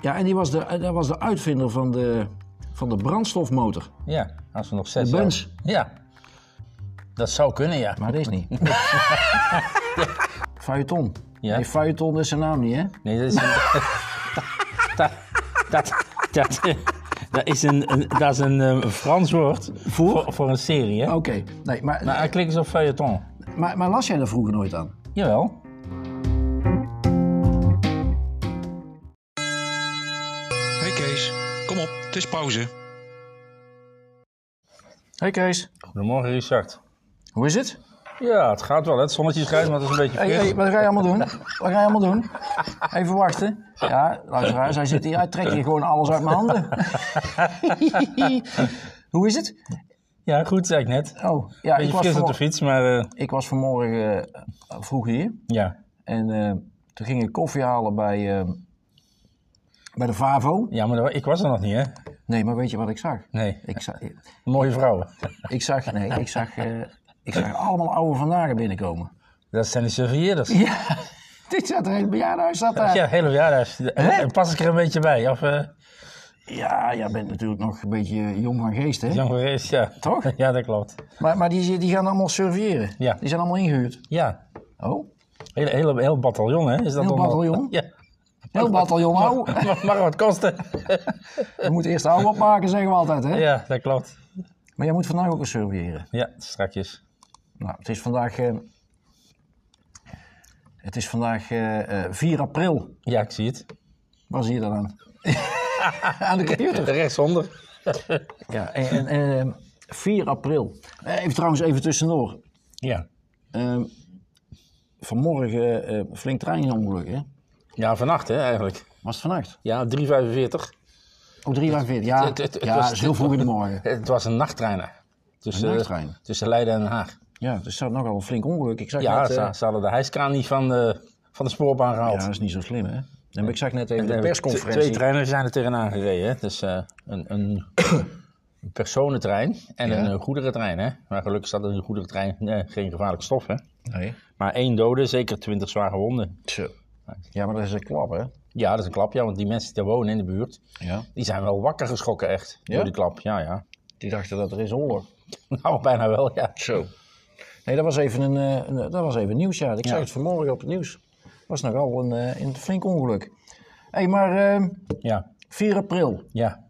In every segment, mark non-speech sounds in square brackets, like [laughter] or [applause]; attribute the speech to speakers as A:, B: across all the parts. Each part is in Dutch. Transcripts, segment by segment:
A: Ja, en die was de, dat was de uitvinder van de, van de brandstofmotor.
B: Ja, als we nog zes
A: De Benz.
B: hebben. Ja. Dat zou kunnen, ja.
A: Maar dat is
B: [laughs]
A: niet. Feuilleton.
B: Ja.
A: Nee, Feuilleton is zijn naam niet, hè?
B: Nee, dat is een... [laughs] dat, dat, dat, dat is een, een- dat is een eh, Frans woord
A: Voor? Oh.
B: voor, voor een serie, hè?
A: Oké. Nee, maar,
B: Maar
A: maar,
B: klik eens op feuilleton.
A: maar, las jij daar vroeger nooit aan?
B: Jawel.
C: Hey Kees, kom op, het is pauze.
A: Hé Kees,
B: Goedemorgen, Richard.
A: hoe is het?
B: Ja, het gaat wel, hè? Het zonnetje is grijs, maar het is een beetje
A: Hé,
B: fris.
A: wat ga je allemaal doen? Wat ga je allemaal doen? Even wachten. Ja, luisteraars, hij zit hier, hij trekt hier gewoon alles uit mijn
B: [laughs]
A: handen. hoe is het?
B: Ja, goed, zei ik net.
A: Oh, ja, ik
B: beetje
A: was,
B: fris op
A: vanmor-
B: de fiets, maar eh,
A: ik was vanmorgen eh, vroeg hier.
B: ja.
A: En eh, toen ging ik koffie halen bij, eh, bij de Vavo.
B: Ja, maar dat- ik was er nog niet, hè?
A: Nee, maar weet je wat ik zag?
B: Nee.
A: Ik zag,
B: Mooie vrouwen.
A: ik zag, nee, ik zag, eh, ik zag allemaal oude vandaren binnenkomen.
B: Dat zijn de surveilleerders.
A: Ja, dit zat er een bejaardenhuis zat daar.
B: Ja, hele verjaardag.
A: Hè?
B: Pas ik er een beetje bij. Of eh
A: Ja, jij bent natuurlijk nog een beetje jong van geest, hè?
B: Jan Gerees, ja.
A: Toch?
B: [laughs] Ja, dat klopt.
A: Maar, maar die, die gaan allemaal surveilleren.
B: Ja.
A: Die zijn allemaal ingehuurd.
B: Ja.
A: Oh,
B: Hele, hele, heel bataljon, hè? Is dat
A: Heel
B: dan al-
A: bataljon?
B: [laughs] Ja.
A: heel bataljon oude.
B: Mag, mag wat kosten. [laughs]
A: We moeten eerst de oude opmaken, zeggen we altijd, hè?
B: ja, dat klopt.
A: Maar jij moet vandaag ook eens surveilleren.
B: Ja, strakjes.
A: Nou, het is vandaag... eh, het is vandaag eh, eh, 4 april.
B: Ja, ik zie het.
A: Waar zie je dat aan? [laughs] aan de computer.
B: Rechtsonder.
A: Ja, en, en, eh, 4 april. Eh, Even trouwens, even tussendoor.
B: Ja.
A: Ehm, vanmorgen eh flink treinongeluk, hè?
B: Ja, vannacht, hè, eigenlijk.
A: Was het vannacht?
B: Ja, 345.
A: Oh, 3 uur 40. Ja,
B: Het- het- het
A: ja
B: was-
A: het is heel vroeg in de
B: [laughs]
A: morgen.
B: Het was een nachttrein. Tussen,
A: Een nachttrein?
B: Tussen Leiden en Den Haag.
A: Ja, dus er zat nogal een flink ongeluk. Ik zag
B: Ja,
A: net, eh,
B: ze, ze hadden de hijskraan niet van de, van de spoorbaan
A: ja,
B: gehaald.
A: dat is niet zo slim, hè? En ik zag net even de
B: En
A: persconferentie.
B: Twee treinen zijn er tegenaan gereden. Hè? Dus eh, een, een, een personentrein en
A: Ja.
B: een eh, goederentrein. Hè? Maar gelukkig zat in de goederentrein eh, geen gevaarlijke stof. Hè?
A: Nee.
B: Maar één dode, zeker twintig zwaar gewonden.
A: Zo. Ja, maar dat is een klap, hè?
B: Ja, dat is een klap. Ja, want die mensen die daar wonen in de buurt,
A: Ja.
B: die zijn wel wakker geschrokken echt.
A: Ja?
B: Door die klap, ja, ja. [laughs]
A: Die dachten dat er is oorlog.
B: Nou, bijna wel, ja.
A: Zo. Nee, dat was even een, eh, een- dat was even nieuws, ja. Ik zag
B: Ja.
A: het vanmorgen op het nieuws. was nogal een, eh, een flink ongeluk. Hé, hey, maar ehm,
B: Ja,
A: 4 april.
B: ja.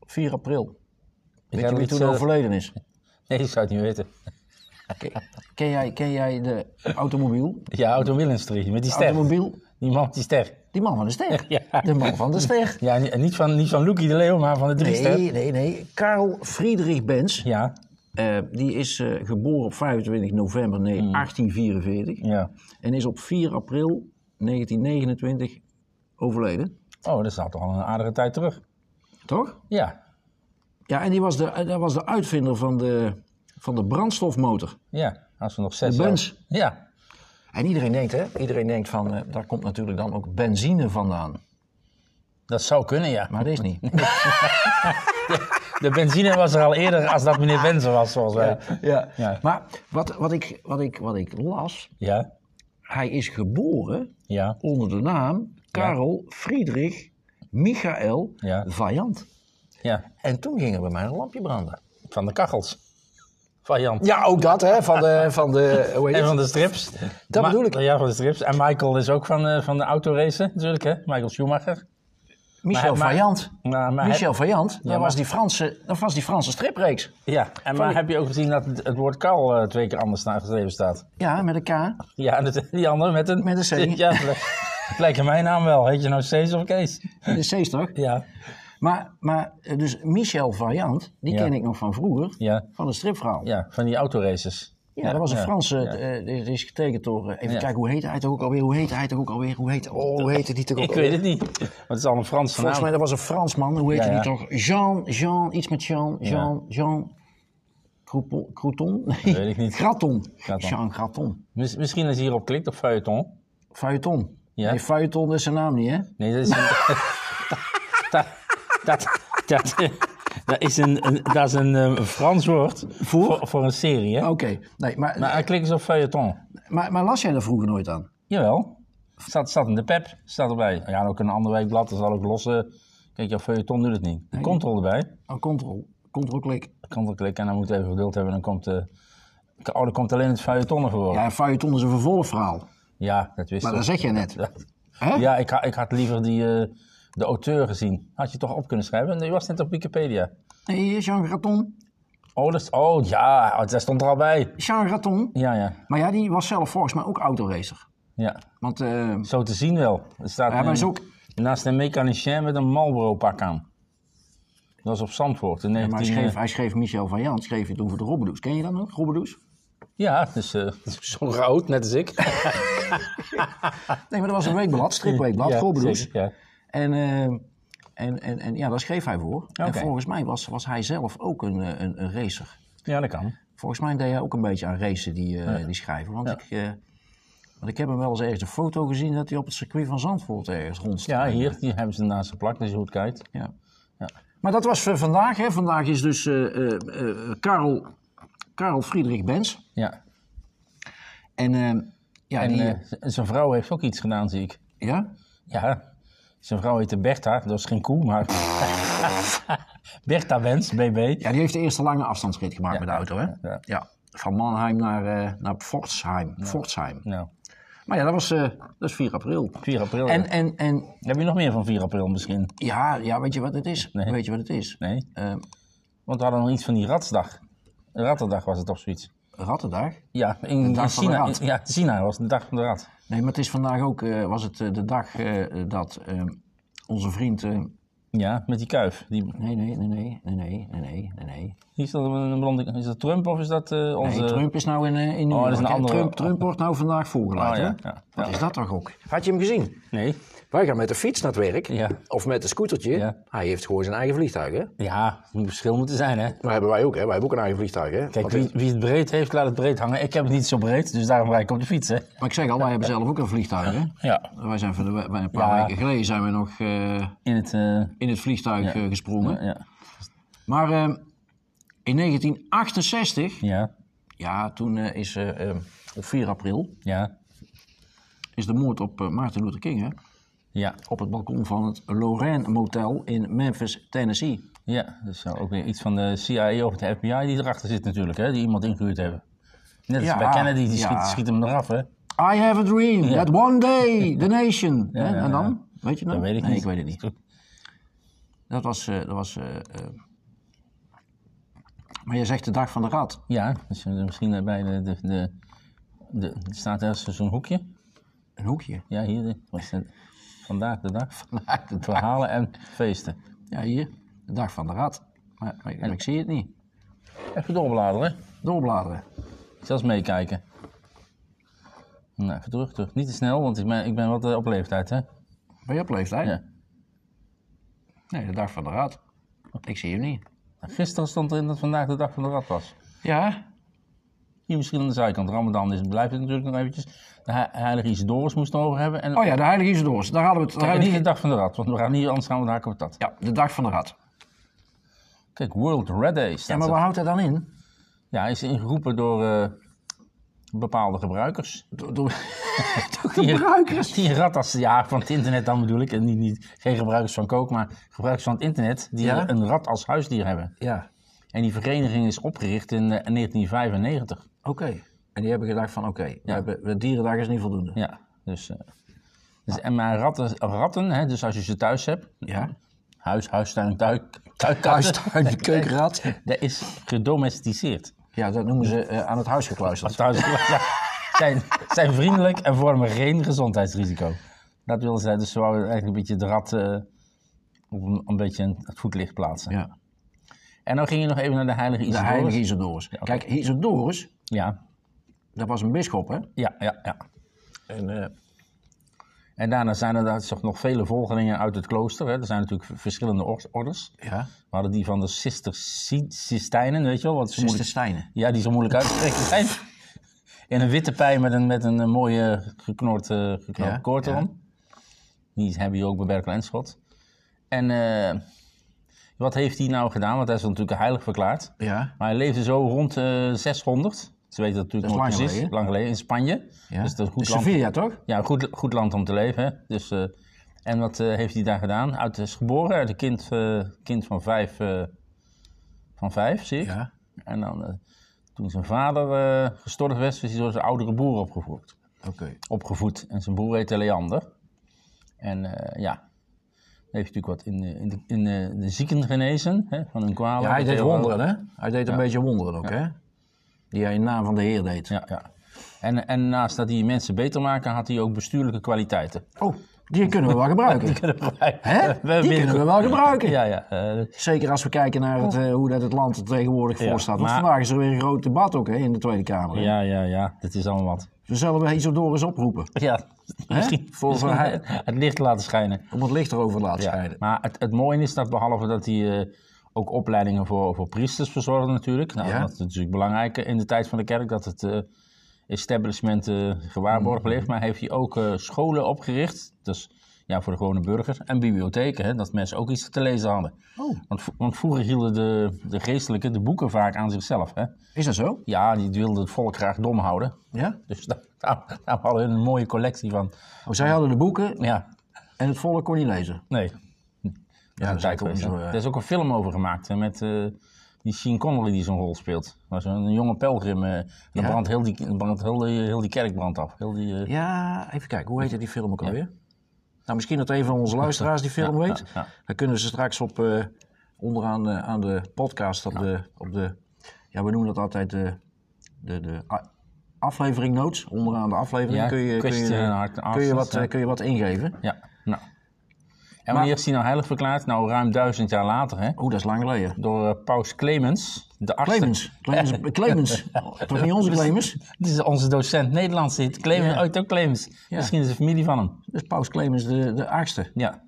A: 4 april. Weet
B: had
A: je wie
B: iets,
A: toen
B: eh,
A: overleden is?
B: Nee, dat zou het niet weten.
A: Ken, ken jij, ken jij de automobiel?
B: Ja, automobielindustrie, met die [laughs] ster.
A: Automobiel?
B: Die man, die ster.
A: Die man van de ster.
B: [laughs] Ja.
A: De man van de ster.
B: Ja, en niet van, niet van Loekie de Leeuw, maar van de drie ster.
A: Nee, nee, nee. Karel Friedrich Benz,
B: Ja,
A: eh, die is eh, geboren op 25
B: Mm.
A: november nee, 1844
B: ja.
A: en is op 4 april 1929 overleden,
B: Oh, dat is nou toch al een aardige tijd terug.
A: toch?
B: Ja,
A: Ja, en die was de, eh, dat was de uitvinder van de, van de brandstofmotor.
B: ja. Als we nog zes
A: De
B: hebben.
A: Benz.
B: Ja.
A: En iedereen denkt, hè? Iedereen denkt van, eh, daar komt natuurlijk dan ook benzine vandaan.
B: Dat zou kunnen, ja.
A: Maar dat [laughs] is niet.
B: De benzine was er al eerder als dat meneer Benzen was, zoals wij.
A: ja.
B: Ja.
A: Maar wat, wat, ik, wat, ik, wat ik las,
B: Ja,
A: hij is geboren
B: ja.
A: onder de naam Karel Friedrich Michael
B: Ja.
A: Vajant.
B: ja.
A: En toen ging er bij mij een lampje branden.
B: Van de kachels. Van Jan.
A: Ja, ook dat, hè? Van de. Van de hoe heet
B: En
A: het?
B: van de strips.
A: Dat bedoel ik.
B: Ja, van de strips. En Michael is ook van, eh van de autoracen, natuurlijk, hè? Michael Schumacher.
A: Michel
B: Maar- maar-
A: Vajant.
B: Nou, maar
A: Michel Vajant, dat,
B: maar-
A: was die Franse, dat was die Franse stripreeks.
B: ja, en maar heb je ook gezien dat het het woord Karl eh, twee keer anders na- geschreven staat?
A: Ja, met een K.
B: Ja, en het- [laughs] die andere met een...
A: Met een C.
B: [laughs] Ja, het lijkt- het lijkt mijn naam wel. Heet je nou Stees of Kees?
A: [laughs] De C's toch?
B: Ja.
A: Maar, maar eh, dus Michel Vajant, die
B: Ja.
A: ken ik nog van vroeger,
B: Ja.
A: van het stripverhaal. Ja,
B: Ja, van die autoraces.
A: dat was een
B: ja.
A: Franse, eh, die die is getekend door, eh, even
B: Ja.
A: kijken, hoe heette hij toch ook alweer, hoe heette hij toch ook alweer, hoe heette, oh, hoe heette die toch ook
B: Ik
A: alweer?
B: weet het niet. Want het is al een Franse
A: Volgens mij,
B: naam.
A: dat was een Fransman. Hoe heette
B: Ja, ja.
A: die toch? Jean, Jean, iets met Jean, Jean, Jean... Croupo- Crouton? Nee.
B: weet ik niet.
A: [laughs] Graton.
B: Graton.
A: Jean Graton.
B: Mis- misschien als je hierop klikt op feuilleton.
A: Feuilleton.
B: Ja.
A: Nee, Feuilleton is zijn naam niet, hè?
B: Nee, dat is een...
A: [laughs]
B: dat, dat, dat, dat is een, een- dat is een eh, Frans woord voor, voor, een
A: Oh.
B: serie. Hè?
A: Oké. Nee, maar, maar,
B: Maar eh, klik eens op feuilleton.
A: maar, las jij daar vroeger nooit aan?
B: Jawel. Staat, staat in de pep, staat erbij. Ja, en ook een ander weekblad, dat zal ook losse. Kijk, jouw feuilleton doet het niet. Control erbij.
A: Oh, control. Control-klik.
B: Control klikken en dan moet je even geduld hebben. Dan komt de... Oh, dan komt alleen het feuilleton ervoor.
A: Ja,
B: Ja,
A: een feuilleton is een vervolgverhaal.
B: dat wist
A: Maar
B: ik.
A: dat zeg je net.
B: Ja,
A: Hè?
B: ja ik, ha- ik had liever die, eh, de auteur gezien. Had je toch op kunnen schrijven? Nee, je was net op Wikipedia.
A: Nee, hier is Jean Graton.
B: Oh, dat, is- oh ja, oh, dat stond er al bij.
A: Jean Graton.
B: Ja, ja,
A: Maar ja, die was zelf volgens mij ook autoracer.
B: ja.
A: Want, eh,
B: Zo te zien wel. Er staat
A: ja, maar
B: een-
A: is ook...
B: naast een mechanicien met een Marlboro-pak aan. Dat was op Zandvoort in
A: Maar hij
B: 19...
A: schreef, hij schreef Michel van Jans, schreef het toen voor de Robbedoes. Ken je dat nog, Robbedoes?
B: Ja, dus eh zo'n rood, net als ik.
A: Nee, maar dat was een weekblad, stripweekblad, Robbedoes.
B: zeker, ja.
A: eh, En, eh, en, en, en ja, daar schreef hij voor. En
B: Oké.
A: volgens mij was, was hij zelf ook een, eh, een, een racer.
B: ja, dat kan.
A: Volgens mij deed hij ook een beetje aan racen, die, eh, die schrijver. Want, ik, eh, want ik heb hem wel eens ergens een foto gezien dat hij op het circuit van Zandvoort ergens rondstond.
B: Ja, hier die hebben ze naast geplakt, als je goed kijkt.
A: Ja. Maar dat was voor vandaag. Hè. Vandaag is dus eh, eh, eh, Karel, Karel Friedrich Benz.
B: Ja.
A: En, eh, ja,
B: En
A: die,
B: eh, z- zijn vrouw heeft ook iets gedaan, zie ik.
A: ja?
B: Ja, zijn vrouw heette Bertha. Dat is geen koe,
A: [laughs]
B: maar... Bertha Wens, BB.
A: ja, die heeft de eerste lange afstandsrit gemaakt met de auto. Hè?
B: ja.
A: Van Mannheim naar, eh naar Fortsheim. Fortsheim.
B: Nou,
A: Maar ja, dat was eh, dat is 4 april.
B: 4 april.
A: En, en, en
B: Heb je nog meer van 4 april misschien?
A: ja, ja, weet je wat het is? Weet je wat het is?
B: Nee?
A: Eh,
B: Want we hadden nog iets van die ratsdag. Rattendag was het toch zoiets?
A: Rattendag?
B: Ja, in, in
A: dag van de
B: China.
A: rat.
B: in- ja, China was de dag van de rat.
A: Nee, maar het is vandaag ook, eh, was het eh, de dag eh, dat eh, onze vriend... eh,
B: Ja, met die kuif. Die,
A: nee, nee, nee, nee, nee, nee, nee, nee, nee, nee.
B: is, dat een blonde, is dat Trump of is dat eh, onze...
A: Nee, Trump is nou in, eh, in New
B: Oh, dat is
A: York,
B: een
A: hè.
B: andere-
A: Trump, Trump wordt nou vandaag voorgeleid,
B: Oh,
A: hè?
B: ja, ja,
A: Wat
B: ja.
A: is dat toch ook? Had je hem gezien?
B: Nee.
A: Wij gaan met de fiets naar het werk.
B: Ja.
A: Of met een scootertje.
B: Ja.
A: Hij heeft gewoon zijn eigen vliegtuig, hè?
B: Ja, er moet verschil moeten zijn, hè?
A: Maar hebben wij ook, hè? Wij hebben ook een eigen vliegtuig, hè?
B: Kijk, wie, wie het breed heeft, laat het breed hangen. Ik heb het niet zo breed, dus daarom rijd ik op de fiets, hè?
A: Maar ik zeg al, wij hebben zelf ook een vliegtuig, hè?
B: Ja.
A: Wij zijn van de, wij- een paar
B: Ja.
A: weken geleden zijn we nog eh,
B: In het... eh,
A: in het vliegtuig eh, gesprongen.
B: ja.
A: Maar eh, in 1968
B: Ja.
A: Ja, toen eh, is eh, eh, op 4 april
B: Ja.
A: is de moord op eh, Maarten Luther King hè,
B: Ja.
A: op het balkon van het Lorraine Motel in Memphis, Tennessee.
B: Ja. Dus zou ook weer iets van de CIA of de FBI die erachter zit natuurlijk, hè? Die iemand ingehuurd hebben. Net als
A: Ja,
B: bij Kennedy, die schiet,
A: ja.
B: schiet hem eraf, hè?
A: I have a dream that one
B: [laughs]
A: day the nation. hè,
B: ja,
A: en dan? Weet je nog?
B: Dat weet ik
A: nee,
B: niet.
A: ik weet het niet. Dat was. eh, dat was eh, eh, maar je zegt de dag van de rat.
B: Ja, dus eh, misschien bij de... de, de, de er staat ergens zo'n hoekje.
A: Een hoekje.
B: Ja, hier. dit Was het. Vandaag de dag. [laughs] Vandaag de Verhalen en feesten.
A: Ja, hier. De dag van de rat. Maar, maar ik zie het niet.
B: Even doorbladeren.
A: Doorbladeren.
B: Zelfs meekijken. Nou, even terug, terug. Niet te snel, want ik ben, ik ben wat eh, op leeftijd, hè?
A: Ben je op leeftijd?
B: Ja.
A: Nee, de dag van de rat. Ik zie hem niet.
B: Nou, Gisteren stond erin dat vandaag de dag van de rat was.
A: Ja,
B: Hier misschien aan de zijkant. Ramadan is, blijft het natuurlijk nog eventjes. De he- heilige Isidorus moest het over hebben. En,
A: Oh ja, de Heilige Isidorus. Daar hadden we het. de
B: Kijk,
A: heilige-
B: niet de dag van de rat, want we gaan hier anders gaan we haken op dat.
A: Ja, de dag van de rat.
B: Kijk, World Red Day staat
A: Ja, maar
B: er.
A: waar houdt dat dan in?
B: Ja, hij is ingeroepen door eh, bepaalde gebruikers.
A: Door, door, [laughs] door
B: Die-
A: gebruikers.
B: Die rattas, ja, van het internet dan bedoel ik. En niet, niet, geen gebruikers van kook, maar gebruikers van het internet die
A: Ja?
B: een rat als huisdier hebben.
A: Ja,
B: En die vereniging is opgericht in eh, 1995.
A: oké. En die hebben gedacht van oké, we hebben- de dierendag is niet voldoende.
B: Ja, dus. eh, dus en maar ratten, ratten hè, dus als je ze thuis hebt,
A: Ja.
B: huis, huistuin, tuik, tuikkatten,
A: Huistuin, keukenrat.
B: dat is gedomesticeerd.
A: [laughs] Ja, dat noemen ze eh, aan het huis
B: [laughs]
A: gekluisterd.
B: Thuis, ja, zijn, zijn vriendelijk en vormen geen gezondheidsrisico. Dat wilden zij, dus ze wouden eigenlijk een beetje de rat eh, op een, een beetje een- het voetlicht plaatsen.
A: Ja.
B: En dan ging je nog even naar de heilige
A: De
B: Isidorus.
A: heilige Isidorus.
B: oké.
A: Kijk, Isidorus,
B: Ja,
A: dat was een bisschop, hè?
B: ja, ja, ja.
A: En, eh,
B: En daarna zijn er daar toch nog vele volgelingen uit het klooster. Hè. Er zijn natuurlijk v- verschillende or- orders.
A: ja.
B: We hadden die van de Sister Si- Sistijnen, weet je wel? Wat zo
A: Sister
B: moeilijk,
A: Stijnen.
B: ja, die zo moeilijk uit te spreken zijn. In een witte pij met een, met een eh, mooie geknoord, eh, geknoord
A: Ja,
B: koord
A: ja.
B: erom. Die hebben je ook bij Berkel en Schot. En eh, wat heeft hij nou gedaan? Want hij is natuurlijk heilig verklaard.
A: Ja.
B: Maar hij leefde zo rond eh, 600. Ze weten dat
A: Dat
B: natuurlijk
A: is
B: nog
A: lang
B: precies.
A: geleden.
B: Lang geleden in Spanje.
A: Ja.
B: Dus dat is een goed
A: Dus
B: land.
A: Sevilla, toch?
B: Ja, een goed, goed land om te leven. Hè? Dus, eh, en wat eh, heeft hij daar gedaan? Uit is geboren, uit een kind, eh, kind van vijf, eh, van vijf zie ik.
A: Ja.
B: En dan, eh, toen zijn vader eh gestorven was, is hij door zijn oudere broer opgevoed.
A: Oké.
B: opgevoed. En zijn broer heette Leander. En eh, ja, hij heeft natuurlijk wat in, de- in, de, in de, de zieken genezen hè, van hun kwalen.
A: Ja, hij
B: Dat
A: deed
B: heel wel-
A: wonderen, hè? Hij deed een beetje wonderen ook, hè? Die hij in naam van de Heer deed.
B: Ja, ja. En, en naast dat hij mensen beter maken, had hij ook bestuurlijke kwaliteiten.
A: Oh, [laughs] die kunnen we wel gebruiken. Hè?
B: Hè?
A: Die kunnen we wel gebruiken.
B: Ja, ja. eh,
A: Zeker als we kijken naar het, eh, hoe dat het land er tegenwoordig
B: Ja,
A: voor staat. Want
B: maar-
A: vandaag is er weer een groot debat ook hè, in de Tweede Kamer. hè.
B: ja, ja, ja. Dat is allemaal wat.
A: Dus zullen we Isidorus oproepen
B: Ja. [laughs] Misschien
A: Voor- voor hij-
B: [laughs] het licht laten schijnen.
A: om het licht erover te laten
B: Ja,
A: schijnen.
B: Maar het, het mooie is dat behalve dat hij eh, ook opleidingen voor, voor priesters verzorgde natuurlijk. Nou,
A: Ja.
B: Dat is natuurlijk belangrijk eh, in de tijd van de kerk dat het eh, establishment eh, gewaarborgd bleef. Maar heeft hij ook eh, scholen opgericht, dus ja, voor de gewone burger. En bibliotheken, hè, dat mensen ook iets te lezen hadden.
A: Oh,
B: Want, v- want vroeger hielden de, de geestelijken de boeken vaak aan zichzelf. Hè.
A: Is dat zo?
B: Ja, die wilden het volk graag dom houden.
A: Ja?
B: Dus [laughs] daar, daar, daar hadden we een mooie collectie van.
A: Oh, zij hadden de boeken
B: Ja,
A: en het volk kon niet lezen.
B: nee.
A: Ja,
B: Ja,
A: dat is ook zo.
B: Er
A: eh,
B: is ook een film over gemaakt hè, met eh, die Sean Connery die zo'n rol speelt. Maar zo'n jonge pelgrim. eh, en dan
A: Ja?
B: brandt heel die, dan brandt heel, die, heel die kerk brandt af. Heel die, eh,
A: Ja, even kijken. Hoe heette die film ook alweer? Nou, misschien dat een van onze luisteraars die film weet.
B: ja.
A: Dan kunnen ze straks op, eh, onderaan eh, aan de podcast op, de, op de... Ja, we noemen dat altijd de, de, de a- aflevering notes. Onderaan de aflevering
B: Ja,
A: kun, je, kun,
B: question and
A: je,
B: answers,
A: kun, je wat,
B: ja.
A: eh, kun je wat ingeven.
B: ja. nou. En wanneer is hij nou heilig verklaard? Nou, ruim duizend jaar later, hè?
A: Oeh, dat is lang geleden.
B: Door eh, paus Clemens, de achtste.
A: Clemens.
B: [laughs]
A: Clemens. eh, Clemens. Toch niet
B: Dus-
A: onze Clemens?
B: Dit is onze docent Nederlands. dit. Clemens,
A: Ja.
B: ooit ook Clemens.
A: Ja.
B: Misschien is de familie van hem.
A: Dus paus Clemens de, de achtste.
B: Ja.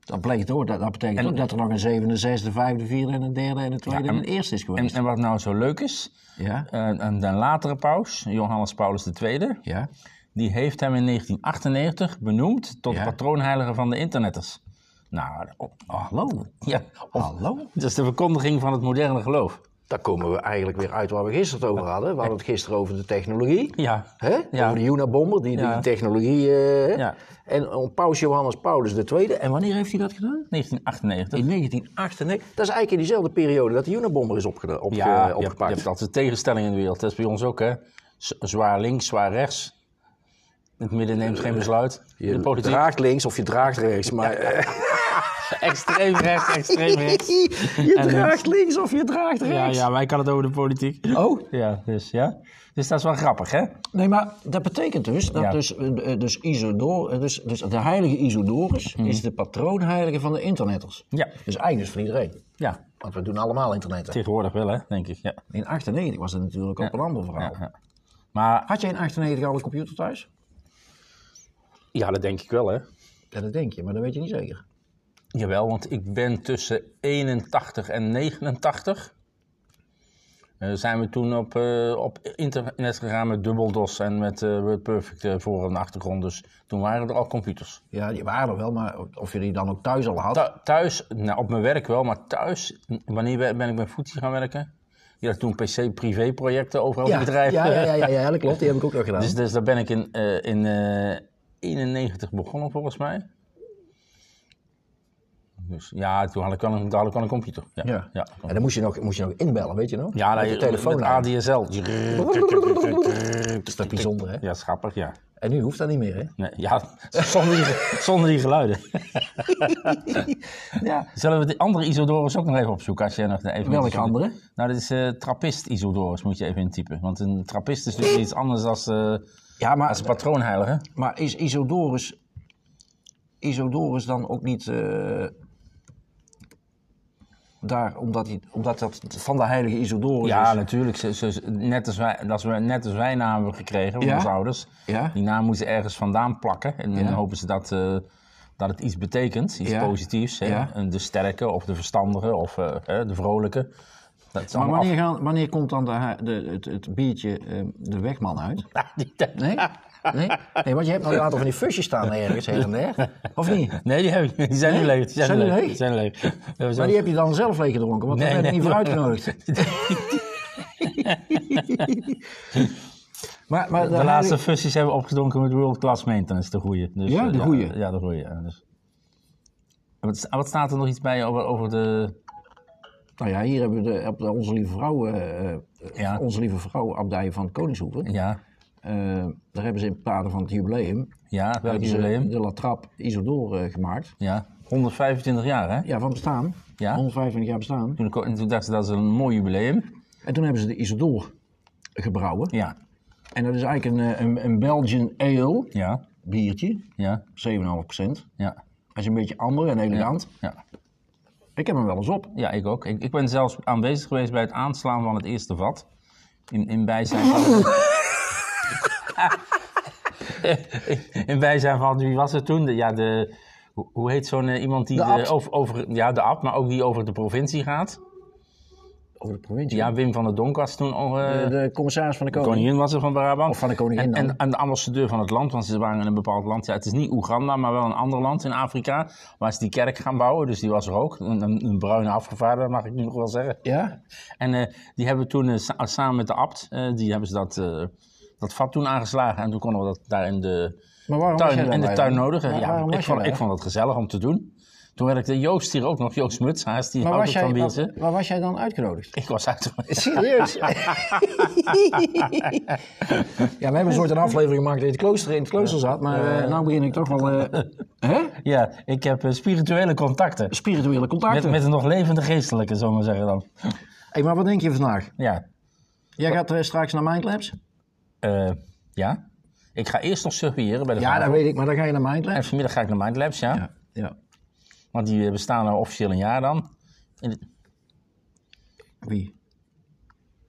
A: Dat bleek door. Dat, dat betekent
B: En-
A: ook dat er nog een zevende, zesde, vijfde, vierde en een derde en een tweede en
B: en-
A: een eerste is
B: En,
A: geweest.
B: en wat nou zo leuk is,
A: ja,
B: eh, en de latere paus, Johannes Paulus II,
A: ja.
B: Die heeft hem in 1998 benoemd tot
A: Ja.
B: patroonheilige van de internetters. Nou, op-
A: Hallo.
B: ja, op-
A: Hallo?
B: dat is de verkondiging van het moderne geloof.
A: Daar komen we eigenlijk weer uit waar we gisteren het over hadden. We hadden het gisteren over de technologie.
B: Ja,
A: Hè?
B: Ja.
A: Over de Unabomber, die, die
B: Ja.
A: technologie. eh,
B: Ja.
A: En om paus Johannes Paulus II. En wanneer heeft hij dat gedaan?
B: 1998.
A: In 1998. Dat is eigenlijk in diezelfde periode dat de Unabomber is opgeda- opge-
B: ja, je, hebt, je
A: opgepakt.
B: hebt altijd tegenstellingen in de wereld. Dat is bij ons ook, hè. Z- zwaar links, zwaar rechts. Het midden neemt geen besluit.
A: Je
B: de politiek.
A: draagt links of je draagt rechts. Maar, eh,
B: Extreem rechts, [laughs] extreem rechts.
A: [laughs] je
B: En
A: draagt links of je draagt
B: Ja,
A: rechts.
B: ja, wij kan het over de politiek.
A: Oh,
B: Ja, dus ja. Dus dat is wel grappig, hè?
A: nee, maar dat betekent dus dat
B: Ja.
A: dus, eh, eh, dus, Isidor, eh, dus, dus de heilige Isodorus
B: Mhm.
A: is de patroonheilige van de internetters.
B: Ja.
A: Dus eigenlijk dus voor iedereen.
B: Ja,
A: Want we doen allemaal internet.
B: tegenwoordig wel, hè, denk ik. Ja.
A: In 98 was dat natuurlijk ook een ander verhaal.
B: Ja, ja. Maar
A: Had jij in 98 al een computer thuis?
B: ja, dat denk ik wel, hè?
A: Ja, dat denk je, maar dat weet je niet zeker.
B: Jawel, want ik ben tussen 81 en 89. eh, zijn we toen op, eh, op internet gegaan met DubbelDOS en met eh WordPerfect eh, voor en achtergrond. Dus toen waren er al computers.
A: Ja, die waren er wel, maar of je die dan ook thuis al had.
B: Thu- thuis, nou, op mijn werk wel, maar thuis, n- wanneer we- ben ik met Footsie gaan werken? Die had toen PC-privéprojecten overal in
A: ja,
B: het bedrijf.
A: ja, ja, ja, ja, ja, dat klopt. Die heb ik ook nog gedaan.
B: Dus, dus daar ben ik in, eh, in eh, 91 begonnen, volgens mij. Dus ja, toen had ik wel een, toen had ik wel een computer. Ja,
A: ja.
B: ja.
A: En dan moest je, nog, moest je nog inbellen, weet je nog?
B: Ja,
A: met
B: nee,
A: je telefoon.
B: met
A: aan.
B: ADSL.
A: Dat is toch bijzonder, hè?
B: Ja, schappig, ja.
A: En nu hoeft dat niet meer, hè?
B: Nee, ja [laughs] zonder, die, zonder die geluiden.
A: [laughs] Ja.
B: Zullen we de andere Isodorus ook nog even opzoeken? Als jij nog even
A: Welke andere?
B: Nou, dit is eh Trappist Isodorus, moet je even intypen. Want een Trappist is natuurlijk iets anders dan
A: Ja,
B: als
A: maar,
B: patroonheilige.
A: maar is Isodorus, Isodorus dan ook niet... eh, daar, omdat, hij, omdat dat van de heilige Isodorus
B: Ja,
A: is?
B: natuurlijk. Ze- ze- net, als wij, dat we, net als wij namen hebben gekregen van
A: Ja?
B: onze ouders.
A: Ja.
B: Die naam moeten ze ergens vandaan plakken. En
A: Ja.
B: dan hopen ze dat, eh, dat het iets betekent, iets
A: Ja.
B: positiefs. Hè?
A: Ja.
B: En De sterke of de verstandige of eh, hè, de vrolijke. Dat is
A: Maar
B: allemaal
A: wanneer, gaan, wanneer komt dan de, ha- de, het, het biertje eh, de wegman
B: [laughs]
A: uit?
B: af- Nou, Die tijd-
A: Nee? Nee? nee, want je hebt nog een aantal van die fusjes staan ergens her en
B: [laughs]
A: der. Of niet?
B: Nee, die, heb ik- [laughs] die zijn nu
A: Nee?
B: leeg. Die zijn,
A: Zijn
B: nu
A: die
B: leeg.
A: leeg?
B: Die zijn leeg. [laughs] Dat was
A: Maar
B: ook-
A: die heb je dan zelf leeggedronken, want
B: Nee, [laughs]
A: dan heb je
B: nee.
A: niet voor uitgenodigd. [laughs] maar, maar
B: De laatste fussies hebben we opgedronken met World Class Maintenance, de goeie. Dus,
A: Ja,
B: eh,
A: de goeie.
B: Ja, de goeie. ja, dus. En Wat, wat staat er nog iets bij over, over de...
A: Nou ja, hier hebben we de, op de Onze Lieve Vrouw, eh, eh,
B: Ja.
A: Onze Lieve Vrouw abdij van Koningshoeven.
B: Ja,
A: Eh, daar hebben ze in het kader van het jubileum,
B: ja welk
A: hebben ze
B: jubileum?
A: de La Trappe Isidore eh, gemaakt.
B: Ja, 125 jaar hè?
A: Ja, van bestaan.
B: Ja.
A: 125 jaar bestaan.
B: Toen, ik- en toen dacht ze dat is een mooi jubileum.
A: En toen hebben ze de Isidore gebrouwen.
B: Ja,
A: En dat is eigenlijk een, eh, een, een Belgian ale
B: ja,
A: biertje, 7,5%.
B: ja, ja,
A: Hij is een beetje amber en elegant.
B: ja.
A: Ik heb hem wel eens op.
B: Ja, ik ook. Ik, ik ben zelfs aanwezig geweest bij het aanslaan van het eerste vat. In, in bijzijn van... [laughs] in bijzijn van, wie was het toen? De, ja, de... hoe- Hoe heet zo'n eh, iemand die...
A: De abt.
B: over, over, ja, de abt, maar ook die over de provincie gaat.
A: Over de provincie.
B: Ja, Wim van der Donk was toen... al, eh,
A: de, de commissaris van de koning.
B: koningin was er van Brabant.
A: Oh, Of van de koningin
B: En, en,
A: dan.
B: en de ambassadeur van het land, want ze waren in een bepaald land. Ja, het is niet Oeganda, maar wel een ander land in Afrika. Waar ze die kerk gaan bouwen, dus die was er ook. Een, een, een bruine afgevaardigde, mag ik nu nog wel zeggen.
A: Ja?
B: En eh, die hebben toen eh, sa- samen met de abt, eh, die hebben ze dat, eh, dat vat toen aangeslagen. En toen konden we dat daar in de
A: Maar waarom was jij
B: tuin,
A: daar
B: in de
A: bij?
B: tuin nodigen.
A: Waar-
B: ja,
A: waarom
B: ik,
A: was jij
B: vond,
A: daar?
B: ik vond dat gezellig om te doen. Toen werkte Joost hier ook nog, Joost Mutshaas, die
A: Maar
B: houdt
A: was,
B: ook van
A: jij,
B: biertje.
A: maar, maar was jij dan uitgenodigd?
B: Ik was uit.
A: [laughs] Serieus? ja, we hebben een soort een aflevering gemaakt dat je het klooster in het klooster zat, maar eh, nou begin ik toch wel eh, hè?
B: Ja, ik heb eh, spirituele contacten.
A: spirituele
B: Met,
A: contacten.
B: met een nog levende geestelijke, zullen we maar zeggen dan.
A: Hey, maar wat denk je vandaag?
B: Ja.
A: Jij gaat eh, straks naar Mindlabs?
B: eh, ja. Ik ga eerst nog surveilleren bij de
A: Ja,
B: vader.
A: dat weet ik, maar dan ga je naar Mindlabs.
B: En vanmiddag ga ik naar Mindlabs, ja.
A: Ja, Oh, ja.
B: Want die eh, bestaan nou officieel een jaar dan. In het-
A: Wie?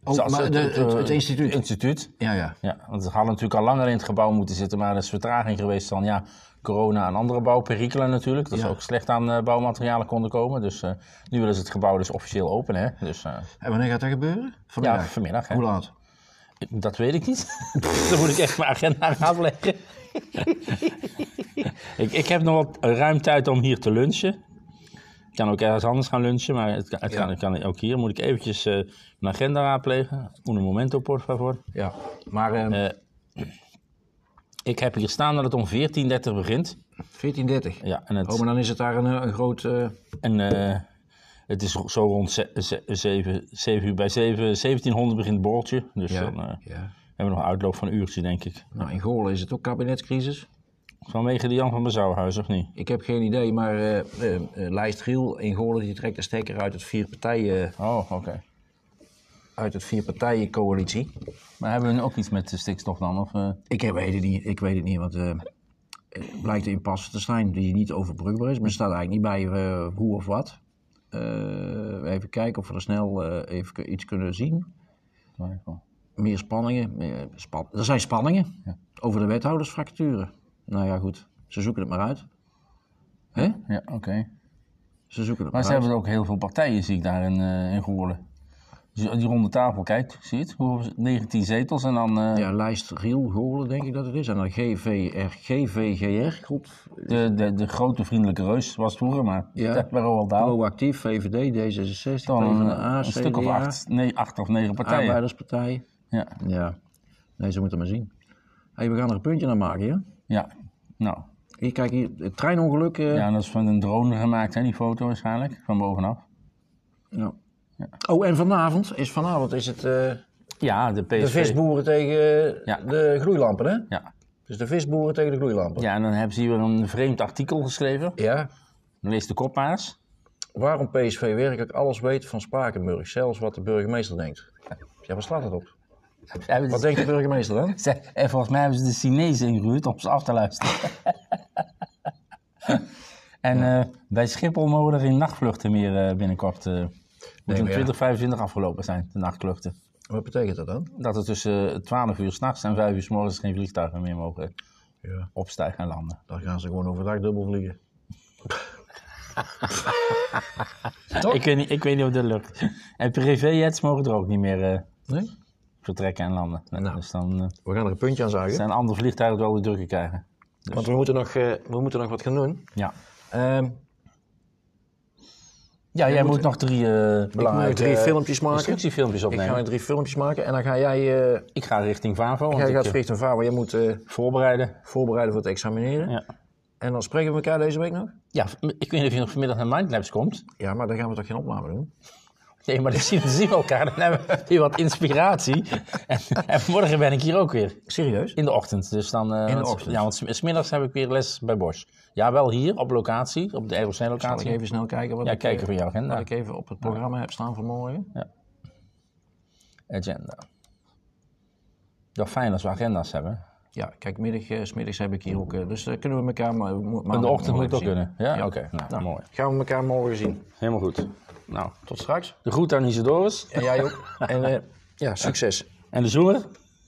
A: Oh,
B: Zoals
A: maar de, het, het
B: eh,
A: instituut.
B: instituut.
A: Ja, ja.
B: Ja, want ze hadden natuurlijk al langer in het gebouw moeten zitten, maar er is vertraging geweest van ja, corona en andere bouwperikelen natuurlijk. Dat
A: Ja.
B: ze ook slecht aan eh, bouwmaterialen konden komen. Dus eh, nu willen ze het gebouw dus officieel open, hè. Dus eh,
A: En wanneer gaat dat gebeuren?
B: ja,
A: Vanmiddag.
B: vanmiddag. Hè.
A: Hoe laat?
B: Ik- Dat weet ik niet. [laughs] Dan moet ik echt mijn agenda gaan afleggen. [laughs] ik, ik heb nog wat ruim tijd om hier te lunchen. Ik kan ook ergens anders gaan lunchen, maar het, kan- het kan, het kan ook hier. Moet ik eventjes eh, mijn agenda raadplegen. Un momento, por favor.
A: Ja. Maar eh,
B: Ik heb hier staan dat het om 14.30 begint.
A: 14.30.
B: Ja, en het,
A: Oh, maar dan is het daar een, eh, een groot... eh,
B: en, eh, het is zo rond 7, uur bij 7, 1700 begint het borreltje. Dus
A: ja.
B: dan eh,
A: ja.
B: hebben we nog een uitloop van een uurtje, denk ik.
A: Nou, in Goorlen is het ook kabinetscrisis.
B: Vanwege de Jan van Bezouwhuis, of niet?
A: Ik heb geen idee, maar eh, eh, eh, Lijst Giel in Goorlen die trekt de stekker uit het vier partijen,
B: Oh, oké.
A: uit het vier partijen coalitie.
B: Maar hebben we nu ook iets met de stikstof dan? Of, eh,
A: Ik heb- weet het niet, ik weet het niet, want eh, het blijkt een impasse te zijn die niet overbrugbaar is. Maar er staat eigenlijk niet bij eh, hoe of wat. Eh, even kijken of we er snel eh, even k- iets kunnen zien.
B: waar ik al-
A: Meer spanningen. Meer span er zijn spanningen over de wethoudersfracturen. Nou ja, goed. Ze zoeken het maar uit. Hè?
B: ja, oké.
A: Ze zoeken het
B: Maar
A: maar,
B: ze
A: uit.
B: hebben ook heel veel partijen, zie ik daar in, eh, in Goorlen. Dus Die ronde tafel, kijk, zie je het? Hoeveel- 19 zetels en dan eh,
A: Ja, lijst Riel Goorlen denk ik dat het is. En dan GVR, GVGR, groep
B: de, de, de grote vriendelijke reus was het vroeger, maar
A: Ja.
B: dat waren al [laughs] daar.
A: Proactief, VVD, D66,
B: Dan een,
A: PvdA,
B: een stuk of
A: CDA,
B: acht, nee, acht of negen
A: Ah,
B: partijen.
A: Arbeiderspartij.
B: Ja,
A: Ja, nee, ze moeten maar zien. hey, we gaan er een puntje aan maken, ja?
B: ja. Nou,
A: Hier, kijk hier, het treinongeluk. eh,
B: ja, dat is van een drone gemaakt, hè, die foto waarschijnlijk, van bovenaf.
A: ja. Oh, en vanavond is, vanavond is het eh,
B: Ja, de PSV.
A: de visboeren tegen eh,
B: Ja.
A: de gloeilampen, hè?
B: Ja.
A: Dus de visboeren tegen de gloeilampen.
B: ja, en dan hebben ze hier weer een vreemd artikel geschreven.
A: Ja.
B: Lees de kop maar eens.
A: Waarom PSV werkelijk alles weet van Spakenburg, zelfs wat de burgemeester denkt. Ja, waar slaat dat op? Wat denkt de burgemeester dan?
B: Ze- En volgens mij hebben ze de Chinezen ingehuurd om ze af te
A: [laughs]
B: luisteren. en eh, bij Schiphol mogen er geen nachtvluchten meer eh, binnenkort. eh
A: maar
B: moeten om
A: ja.
B: 20, 25 afgelopen zijn, de nachtvluchten.
A: Wat betekent dat dan?
B: Dat er tussen eh, 12 uur s'nachts en 5 uur s morgens geen vliegtuigen meer mogen
A: Ja.
B: opstijgen en landen.
A: Dan gaan ze gewoon overdag dubbel vliegen. Toch?
B: Ik weet, niet, ik weet niet of dat lukt. En privéjets mogen er ook niet meer eh,
A: Nee?
B: vertrekken en landen.
A: Nou.
B: Dus dan eh,
A: We gaan er een puntje aan zagen.
B: zijn andere vliegtuigen het wel weer drukker krijgen. Dus- Ehm,
A: Want we moeten, nog, eh, we moeten nog wat gaan doen.
B: Ja.
A: Ehm,
B: Ja, jij
A: moet-
B: moet, nog drie eh,
A: Belangrijke
D: drie filmpjes maken.
B: instructiefilmpjes
A: Ik
B: opnemen.
A: ga
B: Ik
A: drie filmpjes maken en dan ga jij... eh
B: ga, richting VAVO, want
A: jij
B: ik
A: gaat
B: eh,
A: richting varen, maar jij moet eh,
B: voorbereiden.
A: voorbereiden voor het examineren.
B: Ja.
A: En dan spreken we elkaar deze week nog?
B: ja, v- ik weet niet of je nog vanmiddag naar Mindlabs komt.
A: Ja, maar dan gaan we toch geen opname doen?
B: Nee, maar dan [laughs] zien dan zien we elkaar. Dan hebben we weer wat inspiratie. [laughs] En, en morgen ben ik hier ook weer.
A: Serieus?
B: In de ochtend. Dus dan, eh,
A: de
B: want-
A: ochtend.
B: Ja, want s- smiddags heb ik weer les bij Bosch. Ja, wel hier op locatie, op de
A: Zal ik
B: ROC-locatie.
A: even snel kijken wat
B: Ja,
A: ik,
B: kijken
A: eh,
B: voor jouw agenda.
A: wat ik even op het programma heb staan voor morgen.
B: Agenda. Ja, fijn als we agenda's
A: Oh,
B: hebben.
A: Ja, kijk, middag, eh, 's middags heb ik hier ook. eh, dus eh, kunnen we elkaar maar.
B: In de ochtend moet het ook kunnen. Ja, oké. Nou, mooi.
A: Gaan we elkaar morgen zien.
B: Helemaal goed. Nou,
A: Tot straks.
B: de groet aan Isidorus.
A: En jij
B: [laughs]
A: ook. en eh, ja, succes.
B: En de zoener?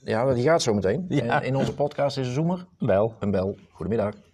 A: Ja, die gaat zo meteen.
B: Ja.
A: En in onze podcast is een zoemer.
B: Wel.
A: Een bel. Goedemiddag.